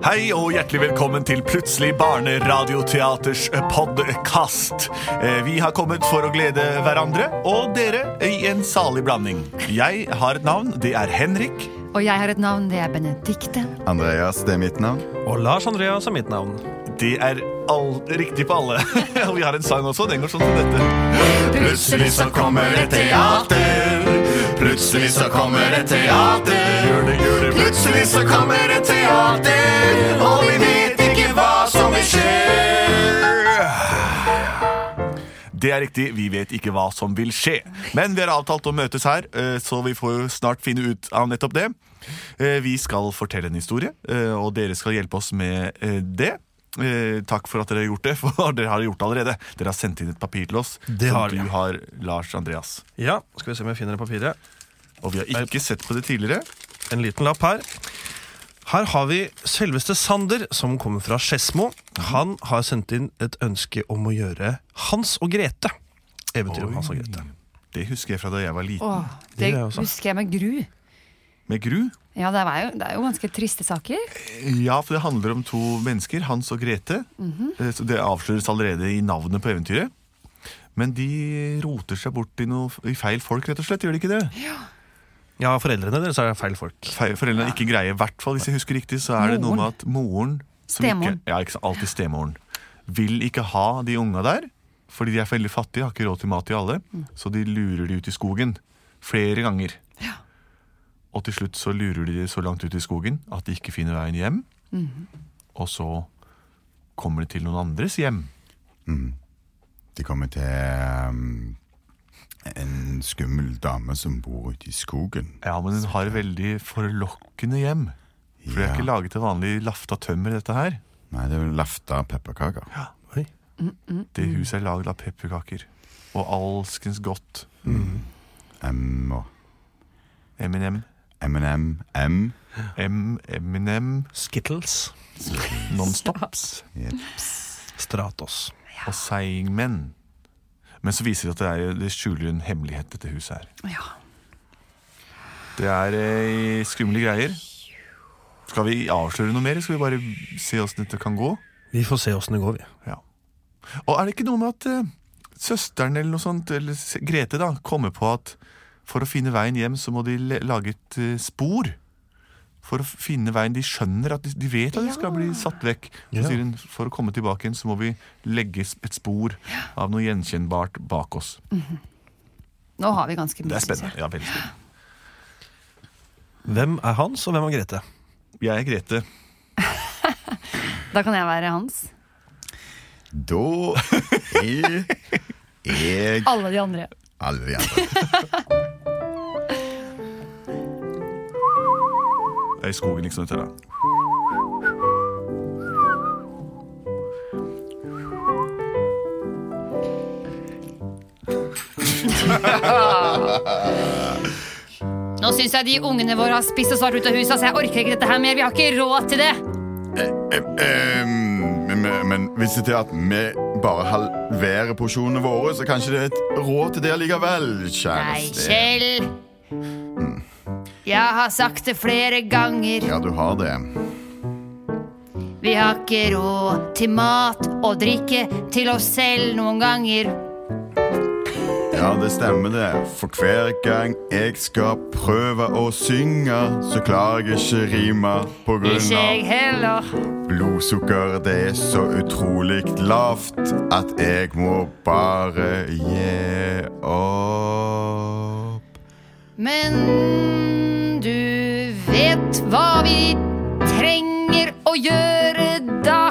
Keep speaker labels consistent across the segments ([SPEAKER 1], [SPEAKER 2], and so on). [SPEAKER 1] Hei og hjertelig velkommen til Plutselig barneradioteaters podkast. Eh, Vi har kommet for å glede hverandre og dere i en salig blanding. Jeg har et navn, det er Henrik.
[SPEAKER 2] Og jeg har et navn, det er Benedikte.
[SPEAKER 3] Andreas, det er mitt navn.
[SPEAKER 4] Og Lars Andreas er mitt navn.
[SPEAKER 1] Det er all, riktig på alle. Og vi har en sang også, den går sånn som dette.
[SPEAKER 3] Plutselig så kommer et teater. Plutselig så kommer et teater. Plutselig så kommer et teater, og vi vet ikke hva som vil skje.
[SPEAKER 1] Det er riktig, vi vet ikke hva som vil skje. Men vi har avtalt å møtes her, eh, så vi får jo snart finne ut av nettopp det. Eh, Vi skal fortelle en historie, eh, og dere skal hjelpe oss med eh, det. Eh, Takk for at dere har gjort det, for dere har gjort det allerede. Dere har sendt inn et papir til oss.
[SPEAKER 4] Det
[SPEAKER 1] som
[SPEAKER 4] har vi.
[SPEAKER 1] du har, Lars Andreas.
[SPEAKER 4] Ja, skal vi se om jeg finner det papiret.
[SPEAKER 1] Og vi har ikke sett på det tidligere.
[SPEAKER 4] En liten lapp her. Her har vi selveste Sander, som kommer fra Skedsmo. Han har sendt inn et ønske om å gjøre Hans og Grete. Eventyret om Hans og Grete.
[SPEAKER 1] Det husker jeg fra da jeg var liten.
[SPEAKER 2] Åh,
[SPEAKER 4] Det
[SPEAKER 2] det
[SPEAKER 4] gjør jeg også.
[SPEAKER 2] husker jeg med gru.
[SPEAKER 1] Med Gru.
[SPEAKER 2] Ja, det er jo, det er jo ganske triste saker.
[SPEAKER 1] Ja, for det handler om to mennesker, Hans og Grete. Eh, så Det avsløres allerede i navnet på eventyret. Men de roter seg bort i, noe, i feil folk, rett og slett. Gjør de ikke det?
[SPEAKER 4] Ja, foreldrene deres er feil folk.
[SPEAKER 1] Feil, foreldrene ikke greier, i hvert fall hvis jeg husker riktig, så er det noe med at moren som
[SPEAKER 2] Stemoren.
[SPEAKER 1] Ikke, ja, ikke sant, alltid stemoren. Vil ikke ha de unga der, fordi de er veldig fattige, har ikke råd til mat til alle. Så de lurer de ut i skogen flere ganger. Og til slutt så lurer de de så langt ut i skogen at de ikke finner veien hjem. Og så kommer de til noen andres hjem.
[SPEAKER 3] De kommer til um, en skummel dame som bor ute i skogen.
[SPEAKER 1] Ja, men den har veldig forlokkende hjem. For det er
[SPEAKER 3] Ja.
[SPEAKER 1] ikke laget til vanlig lafta tømmer, dette her.
[SPEAKER 3] Nei, det er vel lafta pepperkaker.
[SPEAKER 4] Oi.
[SPEAKER 1] Det huset er laget av pepperkaker. Og alskens godt.
[SPEAKER 3] M og
[SPEAKER 1] Eminem.
[SPEAKER 3] M&M. M.
[SPEAKER 1] M, Eminem,
[SPEAKER 4] Skittles.
[SPEAKER 1] Nonstops
[SPEAKER 4] Stratos.
[SPEAKER 1] og Seigmen. Men så viser det at det, er, det skjuler en hemmelighet, dette huset her.
[SPEAKER 2] Ja.
[SPEAKER 1] Det er eh, skumle greier. Skal vi avsløre noe mer? Skal vi bare se åssen dette kan gå?
[SPEAKER 4] Vi får se åssen det går, vi.
[SPEAKER 1] Ja. Og er det ikke noe med at eh, søsteren eller noe sånt, eller s- Grete, da, kommer på at for å finne veien hjem, så må de le- lage et eh, spor? For å finne veien. De skjønner at de, de vet at de skal bli satt vekk. Så
[SPEAKER 4] Ja.
[SPEAKER 1] sier hun for å komme tilbake igjen, så må vi legge s- et spor av noe gjenkjennbart bak oss.
[SPEAKER 2] Nå har vi ganske mye.
[SPEAKER 1] Det er
[SPEAKER 2] synes jeg.
[SPEAKER 1] spennende. Ja, veldig spennende.
[SPEAKER 4] Hvem er Hans, og hvem er Grete?
[SPEAKER 1] Jeg er Grete.
[SPEAKER 2] Da kan jeg være Hans.
[SPEAKER 3] Da er jeg
[SPEAKER 2] Alle de andre.
[SPEAKER 3] alle de andre.
[SPEAKER 1] Jeg er i skogen, liksom. Etter, da.
[SPEAKER 2] Nå syns jeg de ungene våre har spist oss hardt ut av huset, så jeg orker ikke dette her mer. Vi har ikke råd til det.
[SPEAKER 3] Em, Ehm, men, men hvis det er at vi bare halverer porsjonene våre, så kanskje det er et råd til det likevel,
[SPEAKER 2] Nei,
[SPEAKER 3] kjæreste.
[SPEAKER 2] Kjell. Jeg har sagt det flere ganger.
[SPEAKER 3] Ja, du har det.
[SPEAKER 2] Vi har ikke råd til mat og drikke til oss selv noen ganger.
[SPEAKER 3] Ja, det stemmer det. For hver gang jeg skal prøve å synge, så klarer jeg ikke rime på grunn
[SPEAKER 2] Ikke jeg
[SPEAKER 3] av
[SPEAKER 2] heller.
[SPEAKER 3] blodsukker. Det er så utrolig lavt at jeg må bare gi opp.
[SPEAKER 2] Men du vet hva vi trenger å gjøre da.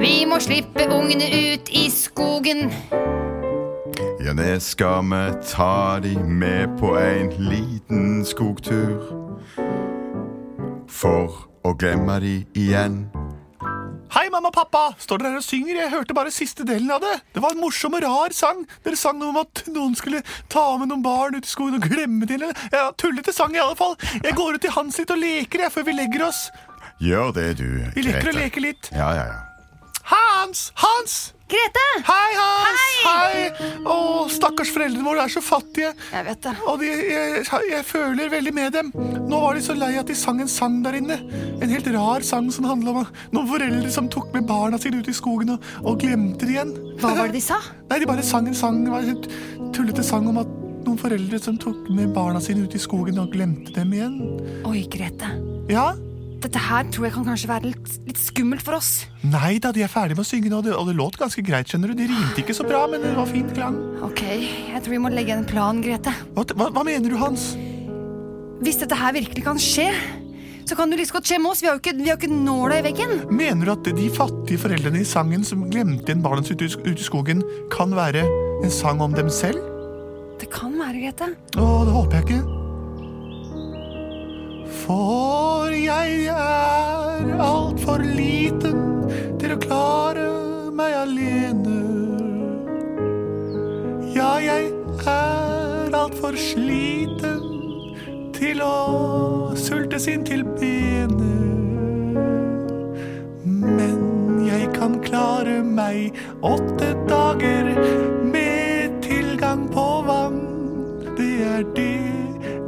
[SPEAKER 2] Vi må slippe ungene ut i skogen.
[SPEAKER 3] Ja, det skal vi ta de med på en liten skogtur. for å glemme de igjen.
[SPEAKER 1] Hei, mamma og pappa! Står dere her og synger? Jeg hørte bare siste delen av det. Det var en morsom og rar sang. Dere sang noe om at noen skulle ta med noen barn ut i skogen og glemme til henne. Ja, tullete sang i alle fall. Jeg går ut til Hans litt og leker jeg før vi legger oss.
[SPEAKER 3] Gjør det, du.
[SPEAKER 1] Vi leker og leker litt.
[SPEAKER 3] Ja, ja, ja.
[SPEAKER 1] Hans! Hans!
[SPEAKER 5] Grete!
[SPEAKER 1] Hei, Hans! Hei! Å, stakkars foreldrene våre er så fattige.
[SPEAKER 5] Jeg vet det.
[SPEAKER 1] Og de, jeg, jeg føler veldig med dem. Nå var de så lei at de sang en sang der inne. En helt rar sang som handla om noen foreldre som tok med barna sine ut i skogen og, og glemte det igjen.
[SPEAKER 5] Hva var det de sa?
[SPEAKER 1] Nei, de bare sang en sang. Det var en helt tullete sang om at noen foreldre som tok med barna sine ut i skogen og glemte dem igjen.
[SPEAKER 5] Oi, Grete.
[SPEAKER 1] Ja?
[SPEAKER 5] Dette her tror jeg kan kanskje være litt, litt skummelt for oss.
[SPEAKER 1] Nei da, de er ferdige med å synge nå, og det, og det låt ganske greit, skjønner du. De rimte ikke så bra, men det var fint klang.
[SPEAKER 5] Ok, jeg tror vi må legge en plan, Grete.
[SPEAKER 1] Hva, hva, hva mener du, Hans?
[SPEAKER 5] Hvis dette her virkelig kan skje, så kan det like så godt skje med oss. Vi har jo ikke, vi har jo ikke nåla i veggen.
[SPEAKER 1] Mener du at de fattige foreldrene i sangen som glemte igjen barna sine ute i skogen, kan være en sang om dem selv?
[SPEAKER 5] Det kan være, Grete.
[SPEAKER 1] Å, det håper jeg ikke. For jeg er altfor liten til å klare meg alene. Ja, jeg er altfor sliten til å sultes inn til benet. Men jeg kan klare meg åtte dager med tilgang på vann. Det er det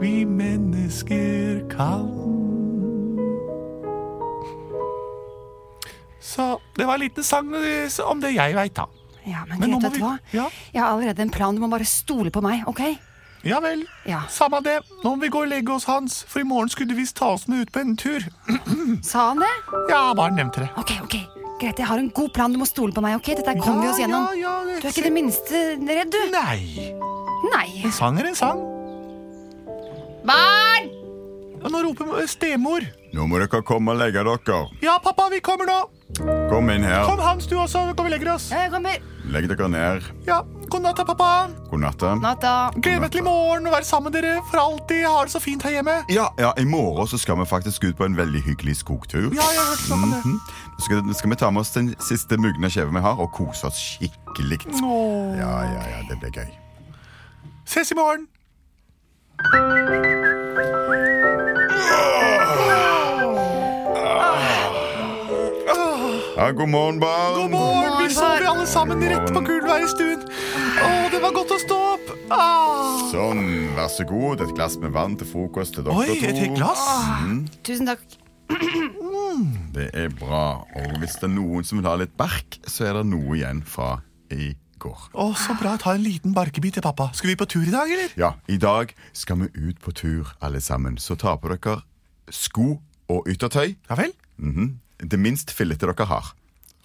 [SPEAKER 1] vi mennesker kan. Så det var en liten sang eh, om det jeg veit, da.
[SPEAKER 5] Ja, men,
[SPEAKER 1] Men nå
[SPEAKER 5] Grete,
[SPEAKER 1] må
[SPEAKER 5] vet du
[SPEAKER 1] vi-
[SPEAKER 5] hva?
[SPEAKER 1] ja.
[SPEAKER 5] Jeg har allerede en plan. Du må bare stole på meg, ok?
[SPEAKER 1] Ja vel.
[SPEAKER 5] Ja.
[SPEAKER 1] Samme det. Nå må vi gå og legge oss, Hans, for i morgen skulle du visst ta oss med ut på en tur.
[SPEAKER 5] Sa han det?
[SPEAKER 1] Ja, bare nevnte det.
[SPEAKER 5] Ok, ok. Grete, jeg har en god plan. Du må stole på meg, ok? Dette her kommer vi oss
[SPEAKER 1] Ja,
[SPEAKER 5] gjennom.
[SPEAKER 1] ja, ja,
[SPEAKER 5] Du er ikke det minste redd, du?
[SPEAKER 1] Nei.
[SPEAKER 5] Nei.
[SPEAKER 1] Sang er en sang.
[SPEAKER 2] Barn!
[SPEAKER 1] Og nå roper eh, stemor.
[SPEAKER 3] Nå må dere komme og legge dere.
[SPEAKER 1] Ja, pappa, vi kommer nå.
[SPEAKER 3] Kom inn
[SPEAKER 1] Kom,
[SPEAKER 3] her.
[SPEAKER 1] Hans, du også. Nå kan vi legge oss.
[SPEAKER 5] Ja, Jeg kommer.
[SPEAKER 3] Legg dere ned.
[SPEAKER 1] Ja, God natt, da, pappa.
[SPEAKER 3] God natt. da.
[SPEAKER 5] Natta.
[SPEAKER 1] Gleder meg til i morgen å være sammen med dere for alltid. Jeg har det så fint her hjemme.
[SPEAKER 3] Ja, ja, I morgen så skal vi faktisk ut på en veldig hyggelig skogtur.
[SPEAKER 1] Ja, jeg har hørt snakk om det.
[SPEAKER 3] Så skal, skal vi ta med oss den siste mugne kjeven vi har, og kose oss skikkelig.
[SPEAKER 1] Åh.
[SPEAKER 3] Ja, ja, ja, det blir gøy.
[SPEAKER 1] Ses i morgen.
[SPEAKER 3] Ja, god morgen, barn.
[SPEAKER 1] God morgen. Vi sover alle sammen rett på gulvet her i stuen. Å, det var godt å stå opp. Ah.
[SPEAKER 3] Sånn, vær så god. Et glass med vann til frokost til dere
[SPEAKER 1] Oi,
[SPEAKER 3] to.
[SPEAKER 1] et helt glass.
[SPEAKER 5] Tusen takk.
[SPEAKER 3] Det er bra. Og hvis det er noen som vil ha litt bark, så er det noe igjen fra i går.
[SPEAKER 1] Å, så bra. Ta en liten barkebit til pappa. Skal vi på tur i dag, eller?
[SPEAKER 3] Ja, i dag skal vi ut på tur, alle sammen. Så ta på dere sko og yttertøy.
[SPEAKER 1] Ja vel.
[SPEAKER 3] Mhm. Det minst fillete dere har.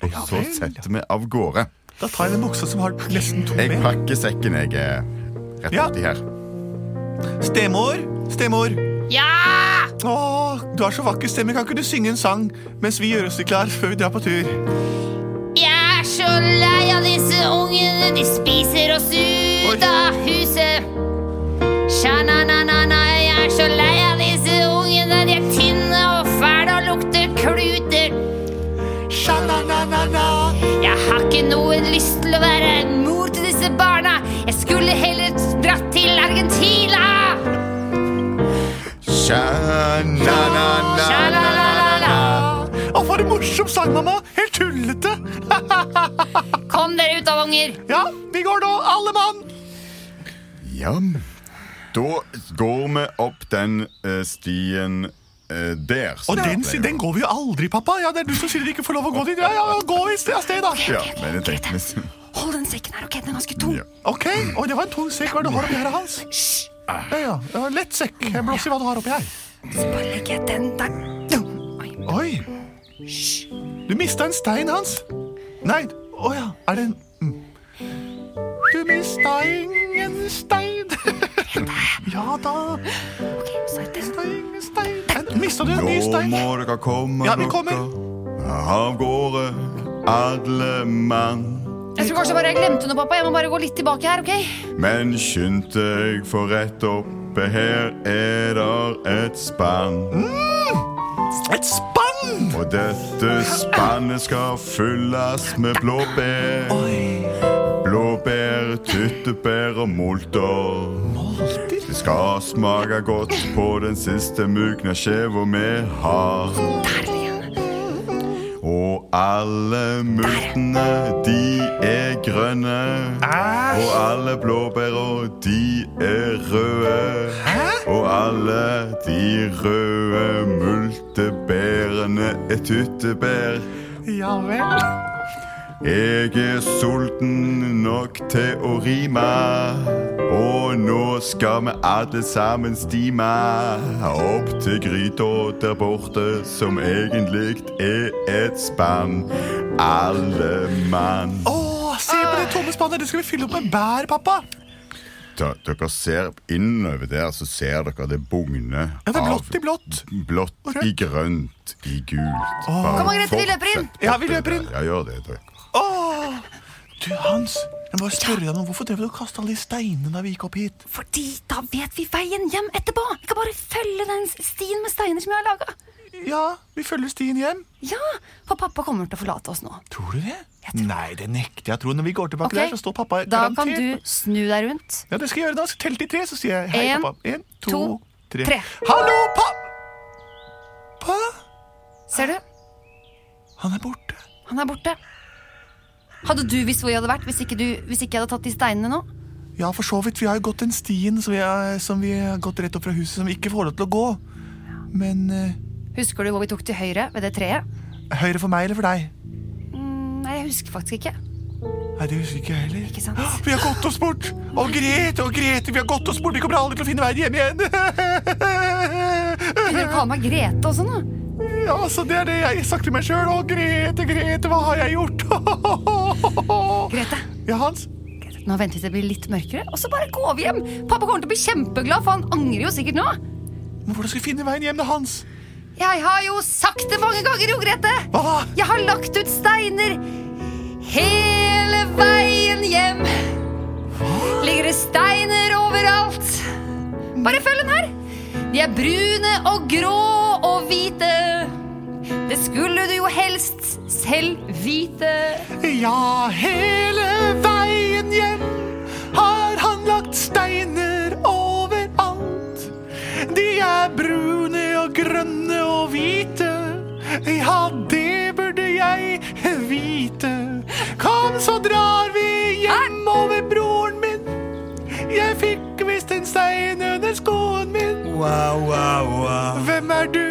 [SPEAKER 3] Og
[SPEAKER 1] Ja
[SPEAKER 3] så
[SPEAKER 1] vel.
[SPEAKER 3] setter vi av gårde.
[SPEAKER 1] Da tar jeg den buksa som har nesten to
[SPEAKER 3] Jeg
[SPEAKER 1] ben.
[SPEAKER 3] pakker sekken jeg er rett
[SPEAKER 1] Ja.
[SPEAKER 3] borti her.
[SPEAKER 1] Stemor. Stemor.
[SPEAKER 2] Ja!
[SPEAKER 1] Å, du har så vakker stemme. Kan ikke du synge en sang mens vi gjør oss klar før vi drar på tur?
[SPEAKER 2] Jeg er så lei av disse ungene, de spiser oss ut av huset. Sja-na-na-na-na, jeg er så lei av disse ungene, de er tynne og fæle og lukter kluter.
[SPEAKER 1] Sja-na-na-na-na.
[SPEAKER 2] Jeg har ikke noen lyst til å være en mor til disse barna. Jeg skulle heller dratt til Argentina.
[SPEAKER 3] Sja-na-na-na-na-na.
[SPEAKER 2] Sja-la-la-la-la.
[SPEAKER 1] Å, for en morsom sang, mamma. Helt tullete.
[SPEAKER 2] Kom dere ut av unger.
[SPEAKER 1] Ja, vi går nå, alle mann.
[SPEAKER 3] Ja, da går vi opp den eh, stien eh, der. som
[SPEAKER 1] Og
[SPEAKER 3] vi
[SPEAKER 1] den,
[SPEAKER 3] pleier
[SPEAKER 1] si-
[SPEAKER 3] å-
[SPEAKER 1] den går vi jo aldri, pappa. Ja, Det er du som sier vi ikke får lov å gå dit. Ja, ja, gå i sted, av sted, da.
[SPEAKER 3] Ja, men jeg tenkte liksom
[SPEAKER 5] Hold den sekken her, ok? Den er ganske tung.
[SPEAKER 3] ja.
[SPEAKER 1] Ok, Oi, det var en tung sekk. Hva er det du har oppi her, Hans? Ja, ja, det var en lett sekk. Jeg blåser i hva du har oppi her.
[SPEAKER 5] Så bare legger jeg den der. Oi.
[SPEAKER 1] Oi. Du mista en stein, Hans. Nei, å ja. Er det en mm. Du mista ingen stein. ja da.
[SPEAKER 5] Ok, så er den.
[SPEAKER 1] Stein, stein. Mista du en ny
[SPEAKER 3] Nå
[SPEAKER 1] stein?
[SPEAKER 3] må dere komme
[SPEAKER 1] Ja, vi
[SPEAKER 3] dere av gårde, alle mann.
[SPEAKER 5] Jeg tror kanskje bare jeg glemte noe, pappa. Jeg må bare gå litt tilbake her, ok?
[SPEAKER 3] Men
[SPEAKER 1] Mm.
[SPEAKER 3] skynd deg, for rett oppe her er der et spann.
[SPEAKER 1] Et spann!
[SPEAKER 3] Og dette spannet skal fylles med blåbær. Blåbær, tyttebær og molter. Det skal smake godt på den siste mugna skjeva vi har. Og alle multene, de er grønne. Og alle blåbæra, de er røde. Og alle de røde multebærene er tyttebær.
[SPEAKER 1] Ja vel.
[SPEAKER 3] Jeg er sulten nok til å rime. Og nå skal vi alle sammen stime opp til gryta der borte, som egentlig er et spann. Alle mann.
[SPEAKER 1] Å, se på det tomme spannet! Det skal vi fylle opp med bær, pappa.
[SPEAKER 3] Da, dere ser innover der, så ser dere det bugne
[SPEAKER 1] Ja, det er blått i blått.
[SPEAKER 3] Blått i grønt, i gult.
[SPEAKER 5] Kom, Margrethe, vi løper inn.
[SPEAKER 1] Ja, vi løper inn.
[SPEAKER 3] Ja, gjør det, dere.
[SPEAKER 1] Åh. Du, Hans, jeg må bare spørre deg om hvorfor drev du og kasta alle de steinene da vi gikk opp hit?
[SPEAKER 5] Fordi da vet vi veien hjem etterpå. Vi kan bare følge den stien med steiner som jeg har laga.
[SPEAKER 1] Ja, vi følger stien hjem.
[SPEAKER 5] Ja, for pappa kommer til å forlate oss nå.
[SPEAKER 1] Tror du det? Nei, det nekter jeg å tro. Når vi går tilbake
[SPEAKER 5] Ok,
[SPEAKER 1] der, så står pappa
[SPEAKER 5] Da kan
[SPEAKER 1] garantert
[SPEAKER 5] du snu deg rundt.
[SPEAKER 1] Ja, det skal jeg gjøre da. Så tell til tre, så sier jeg hei,
[SPEAKER 5] En,
[SPEAKER 1] pappa. En, to,
[SPEAKER 5] to,
[SPEAKER 1] tre.
[SPEAKER 5] tre.
[SPEAKER 1] Hallo, pa... Pa?
[SPEAKER 5] Ser du?
[SPEAKER 1] Han er borte.
[SPEAKER 5] Han er borte. Hadde du visst hvor jeg hadde vært hvis ikke, du, hvis ikke jeg hadde tatt de steinene nå?
[SPEAKER 1] Ja, for så vidt. Vi har jo gått den stien som vi, har, som vi har gått rett opp fra huset, som vi ikke får lov til å gå. Men eh,
[SPEAKER 5] Husker du hvor vi tok til høyre ved det treet? Mm,
[SPEAKER 1] høyre for meg eller for deg?
[SPEAKER 5] Nei, jeg husker faktisk ikke.
[SPEAKER 1] Nei, det husker ikke jeg heller.
[SPEAKER 5] Ikke sant?
[SPEAKER 1] Hå, Vi har gått oss bort! Å, Grete, å, Grete, vi har gått oss bort! Vi kommer aldri til å finne veien hjem igjen!
[SPEAKER 5] Begynner du å kalle meg Grete også nå?
[SPEAKER 1] Ja, altså, det er det jeg sagt til meg sjøl. Å, Grete, Grete, hva har jeg gjort?
[SPEAKER 5] Grete,
[SPEAKER 1] Ja, Hans?
[SPEAKER 5] nå venter vi til det blir litt mørkere, og så bare går vi hjem! Pappa kommer til å bli kjempeglad, for han angrer jo sikkert nå.
[SPEAKER 1] Men hvordan skal vi finne veien hjem da, Hans?
[SPEAKER 5] Jeg har jo sagt det mange ganger, jo, Grete!
[SPEAKER 1] Hva da?
[SPEAKER 5] Jeg har lagt ut steiner hele veien hjem. Ligger det steiner overalt? Bare følg den her. De er brune og grå og hvite. Det skulle du jo helst selv vite.
[SPEAKER 1] Ja, hele veien hjem har han lagt steiner overalt. De er brune og grønne og hvite. Ja, det burde jeg vite. Kom, så drar vi hjem over broren min. Jeg fikk visst en stein under skoen min.
[SPEAKER 3] Wow, wow, wow.
[SPEAKER 1] Hvem er du?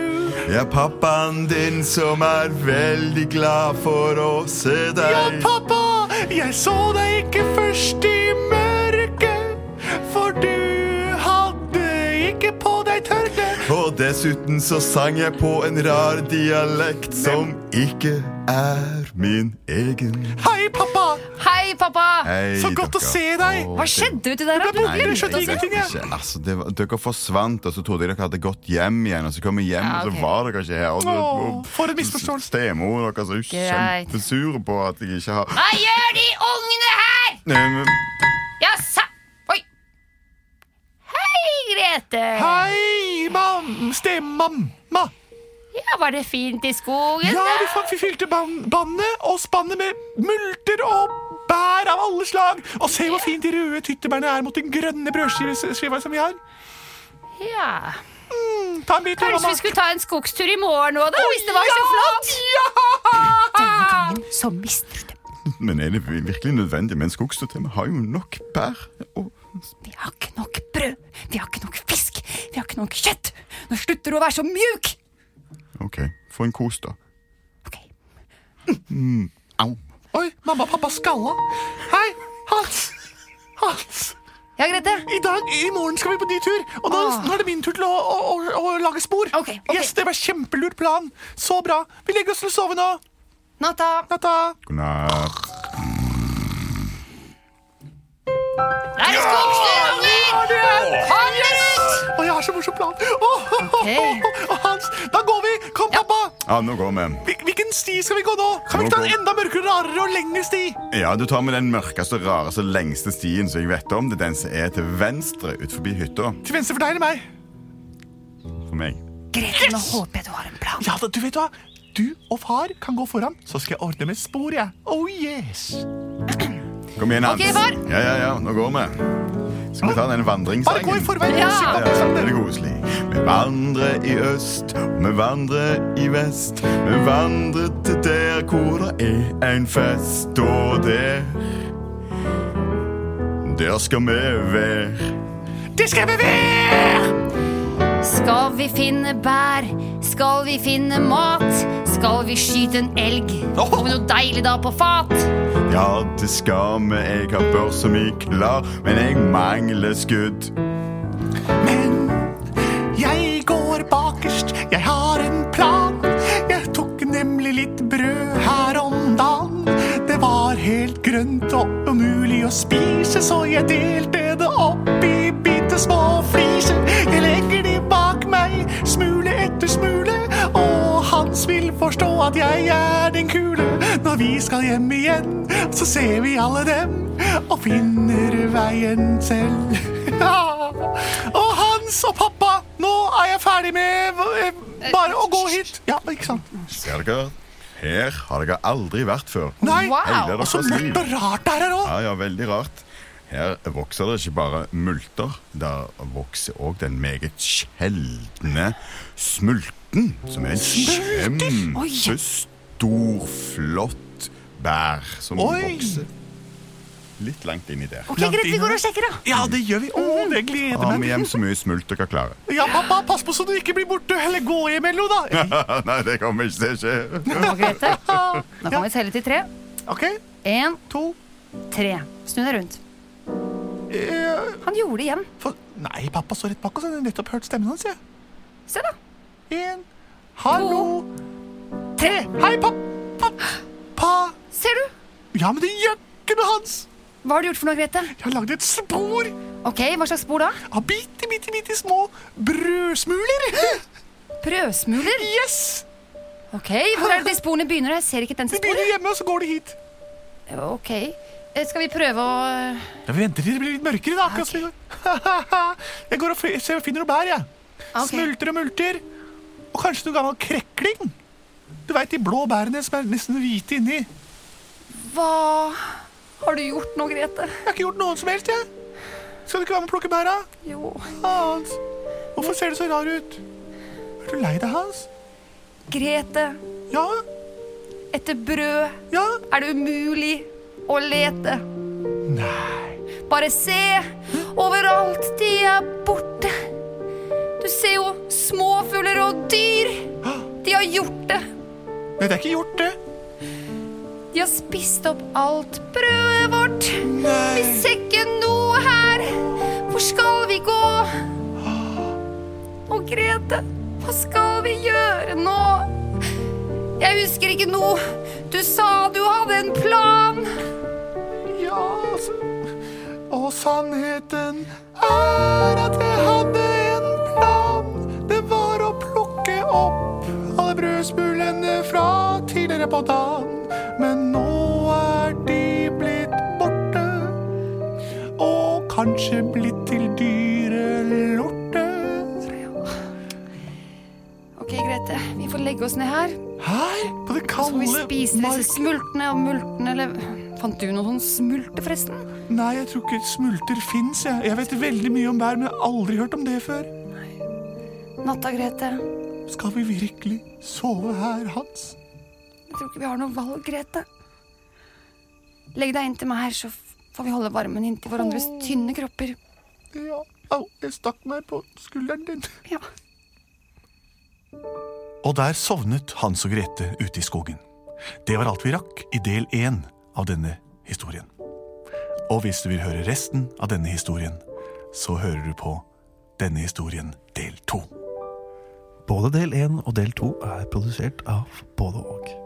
[SPEAKER 3] Ja, pappaen din som er veldig glad for å se deg.
[SPEAKER 1] Ja, pappa, jeg så deg ikke først i mørket, for du hadde ikke på deg tørkle.
[SPEAKER 3] Og dessuten så sang jeg på en rar dialekt som ikke er min egen.
[SPEAKER 1] Hei, pappa!
[SPEAKER 5] Hei, pappa!
[SPEAKER 3] Hei,
[SPEAKER 1] Så godt å
[SPEAKER 3] dere.
[SPEAKER 1] se deg.
[SPEAKER 3] Å,
[SPEAKER 5] Hva
[SPEAKER 3] det-
[SPEAKER 5] skjedde uti der? da?
[SPEAKER 1] ble
[SPEAKER 5] Du
[SPEAKER 1] borte,
[SPEAKER 3] Nei,
[SPEAKER 1] Jeg
[SPEAKER 3] jeg
[SPEAKER 1] skjønte
[SPEAKER 3] vet
[SPEAKER 1] ingenting, jeg.
[SPEAKER 3] ikke. Altså, det var, dere forsvant, og så trodde jeg dere hadde gått hjem igjen. Og så kom jeg hjem,
[SPEAKER 5] Ja,
[SPEAKER 3] og
[SPEAKER 5] ok.
[SPEAKER 3] så var dere ikke her. Og så,
[SPEAKER 1] Å, for en misforståelse.
[SPEAKER 3] Stemor dere er så
[SPEAKER 5] Greit.
[SPEAKER 3] kjempesure på at jeg ikke har
[SPEAKER 6] Hva gjør de ungene her?
[SPEAKER 3] Nei, men-
[SPEAKER 6] Ja, sa... Oi. Hei, Grete.
[SPEAKER 1] Hei, mam, stemamma.
[SPEAKER 6] Ja, var det fint i skogen?
[SPEAKER 1] Ja,
[SPEAKER 6] da?
[SPEAKER 1] vi, fa- vi fylte ban bannet og spannet med multer og bær av alle slag. Og se hvor fint de røde tyttebærene er mot den grønne brødskiva som vi har.
[SPEAKER 6] ja.
[SPEAKER 1] Ta en bit,
[SPEAKER 6] Kanskje
[SPEAKER 1] mamma.
[SPEAKER 6] vi skulle ta en skogstur i morgen òg, da? Hvis det var så flott?
[SPEAKER 5] Denne gangen så mister du det.
[SPEAKER 3] Men er det virkelig nødvendig med en skogstur til? Vi har jo nok bær. Og
[SPEAKER 5] Vi har ikke nok brød. Vi har ikke nok fisk. Vi har ikke nok kjøtt. Nå slutter du å være så mjuk!
[SPEAKER 3] OK, få en kos, da.
[SPEAKER 5] Ok,
[SPEAKER 3] Au.
[SPEAKER 1] Oi, mamma og pappa skalla. Hei, Hans. Hans.
[SPEAKER 5] Ja, Grete?
[SPEAKER 1] I, dag, I morgen skal vi på dytur, og nå,
[SPEAKER 5] Åh.
[SPEAKER 1] nå er det min tur til å, å, å, å lage spor.
[SPEAKER 5] Ah. Ok, ok.
[SPEAKER 1] Yes, Det var kjempelurt plan. Så bra. Vi legger oss til å sove nå.
[SPEAKER 5] Natta.
[SPEAKER 1] Natta.
[SPEAKER 3] God natt.
[SPEAKER 6] Da er det skogstur, unger! Kom dere ut!
[SPEAKER 1] Å, jeg har så morsom plan. Åh, åh, åh,
[SPEAKER 5] Ok.
[SPEAKER 1] åh, åh, Hans, da går vi. Kom, pappa.
[SPEAKER 3] Ja, nå går vi.
[SPEAKER 1] Hvil- Hvilken sti skal vi gå nå? Kan vi ikke ta en
[SPEAKER 3] Nå går-
[SPEAKER 1] enda mørkere, rarere og lengre sti?
[SPEAKER 3] Ja, Du tar med den mørkeste, rareste, lengste stien som jeg vet om. Det er den som er til venstre ut forbi hytta.
[SPEAKER 1] Til venstre for deg eller meg?
[SPEAKER 3] For meg.
[SPEAKER 5] Grete, nå håper jeg du har en plan.
[SPEAKER 1] Ja, da, du vet hva? Du og far kan gå foran, så skal jeg ordne med spor, jeg. Oh yes!
[SPEAKER 3] Kom igjen, Hans.
[SPEAKER 5] Ok, far.
[SPEAKER 3] Ja, ja, ja, nå går vi. Skal vi ta den
[SPEAKER 1] Bare
[SPEAKER 3] vandringssangen?
[SPEAKER 1] gå i forveien.
[SPEAKER 5] Ja.
[SPEAKER 1] Sykla
[SPEAKER 3] Ja,
[SPEAKER 1] på
[SPEAKER 3] det
[SPEAKER 1] sanden.
[SPEAKER 3] er koselig. Vi vandrer i øst, vi vandrer i vest. Vi vandrer til der hvor det er en fest, og der Der skal vi være.
[SPEAKER 5] Skal vi finne bær? Skal vi finne mat? Skal vi skyte en elg? Får vi noe deilig da på fat?
[SPEAKER 3] Ja, det skal vi. Jeg har børsa mi klar, men jeg mangler skudd.
[SPEAKER 1] Men jeg går bakerst, jeg har en plan. Jeg tok nemlig litt brød her om dagen. Det var helt grønt og umulig å spise, så jeg delte det opp i bitte små fliser. Jeg legger de bak meg, smule etter smule, og Hans vil forstå at jeg er den kule. Når vi skal hjem igjen, så ser vi alle dem, og finner veien selv. Ja. Og Hans og pappa, nå er jeg ferdig med eh, bare å gå hit. Ja, ikke sant?
[SPEAKER 3] Ser dere? Her har dere aldri vært før.
[SPEAKER 1] Nei,
[SPEAKER 3] Hele
[SPEAKER 1] og så
[SPEAKER 3] deres liv.
[SPEAKER 1] mørkt og rart det er her òg.
[SPEAKER 3] Ja, ja, veldig rart. Her vokser det ikke bare multer, der vokser òg den meget sjeldne smulten, som er en kjempestor, flott bær som
[SPEAKER 1] Oi.
[SPEAKER 3] vokser litt langt inni der.
[SPEAKER 5] Ok, Grete, vi går og sjekker, da.
[SPEAKER 1] Ja, det gjør vi. Å, det gleder
[SPEAKER 3] Ta
[SPEAKER 1] meg.
[SPEAKER 3] med hjem så mye smult dere klarer.
[SPEAKER 1] Ja, pappa, pass på så du ikke blir borte. Eller gå hjem, Ello, da.
[SPEAKER 3] Nei, det kommer ikke til å skje.
[SPEAKER 5] Og Grete, nå kan vi telle til tre.
[SPEAKER 1] OK,
[SPEAKER 5] Én,
[SPEAKER 1] to
[SPEAKER 5] tre. Snu deg rundt.
[SPEAKER 1] eh,
[SPEAKER 5] Han gjorde det igjen.
[SPEAKER 1] for, Nei, pappa står rett bak oss. Jeg har nettopp hørt stemmen hans. jeg.
[SPEAKER 5] Se, da.
[SPEAKER 1] En, hallo,
[SPEAKER 5] Tre.
[SPEAKER 1] hei, pappa. Pa.
[SPEAKER 5] Ser du?
[SPEAKER 1] Ja, men det gjør ikke noe, Hans.
[SPEAKER 5] Hva har du gjort for noe, Grete?
[SPEAKER 1] Jeg har lagd et spor
[SPEAKER 5] Ok, Hva slags spor da?
[SPEAKER 1] av bitte, bitte, bitte små brødsmuler.
[SPEAKER 5] Brødsmuler?
[SPEAKER 1] Yes!
[SPEAKER 5] Ok, Hvor er det de sporene begynner? Jeg ser ikke den
[SPEAKER 1] De
[SPEAKER 5] til
[SPEAKER 1] begynner
[SPEAKER 5] sporet.
[SPEAKER 1] hjemme, og så går de hit.
[SPEAKER 5] Ok, Eh, Skal vi prøve å
[SPEAKER 1] Ja, Vi venter til det blir litt mørkere, da. akkurat som i går. Jeg går og fi- ser- finner noe bær, jeg.
[SPEAKER 5] Ok.
[SPEAKER 1] Smulter og multer. Og kanskje noe gammel krekling. Du veit de blå bærene som er nesten hvite inni. Jeg
[SPEAKER 5] Hva har du gjort nå, Grete?
[SPEAKER 1] har ikke gjort noen som helst, jeg. Skal du ikke være med og plukke bæra?
[SPEAKER 5] Jo
[SPEAKER 1] Hans, hvorfor ser du så rar ut? Er du lei deg, Hans?
[SPEAKER 5] Grete,
[SPEAKER 1] Ja?
[SPEAKER 5] etter brød
[SPEAKER 1] Ja?
[SPEAKER 5] er det umulig å lete.
[SPEAKER 1] Nei.
[SPEAKER 5] Bare se, overalt de er borte. Du ser jo småfugler og dyr. De har gjort det.
[SPEAKER 1] Nei, det er ikke gjort, det.
[SPEAKER 5] De har spist opp alt brødet vårt. Vi ser ikke noe her. Hvor skal vi gå? Å, Grete, hva skal vi gjøre nå? Jeg husker ikke noe. Du sa du hadde en plan.
[SPEAKER 1] Ja, altså Og sannheten er at jeg hadde en plan. Det var å plukke opp alle brødsmulene fra tidligere på dagen. Men nå er de blitt borte. Og kanskje blitt til dyrelorte.
[SPEAKER 5] Ok, Grete, vi får legge oss ned her.
[SPEAKER 1] Her på det
[SPEAKER 5] Så får vi
[SPEAKER 1] kalde
[SPEAKER 5] spise disse
[SPEAKER 1] mark-
[SPEAKER 5] smultene og multene, eller Fant du noe sånn smulte, forresten?
[SPEAKER 1] Nei, jeg tror ikke smulter fins. Jeg. jeg vet veldig mye om bær, men jeg har aldri hørt om det før.
[SPEAKER 5] Natta, Grete.
[SPEAKER 1] Skal vi virkelig sove her, Hans?
[SPEAKER 5] Jeg tror ikke vi har noe valg, Grete. Legg deg inntil meg her, så f- får vi holde varmen inntil hverandres tynne kropper.
[SPEAKER 1] Ja. Au, jeg stakk meg på skulderen din.
[SPEAKER 5] Ja.
[SPEAKER 7] Og der sovnet Hans og Grete ute i skogen. Det var alt vi rakk i del én av denne historien. Og hvis du vil høre resten av denne historien, så hører du på denne historien del to.
[SPEAKER 4] Både del 1 og del 2 er produsert av både og.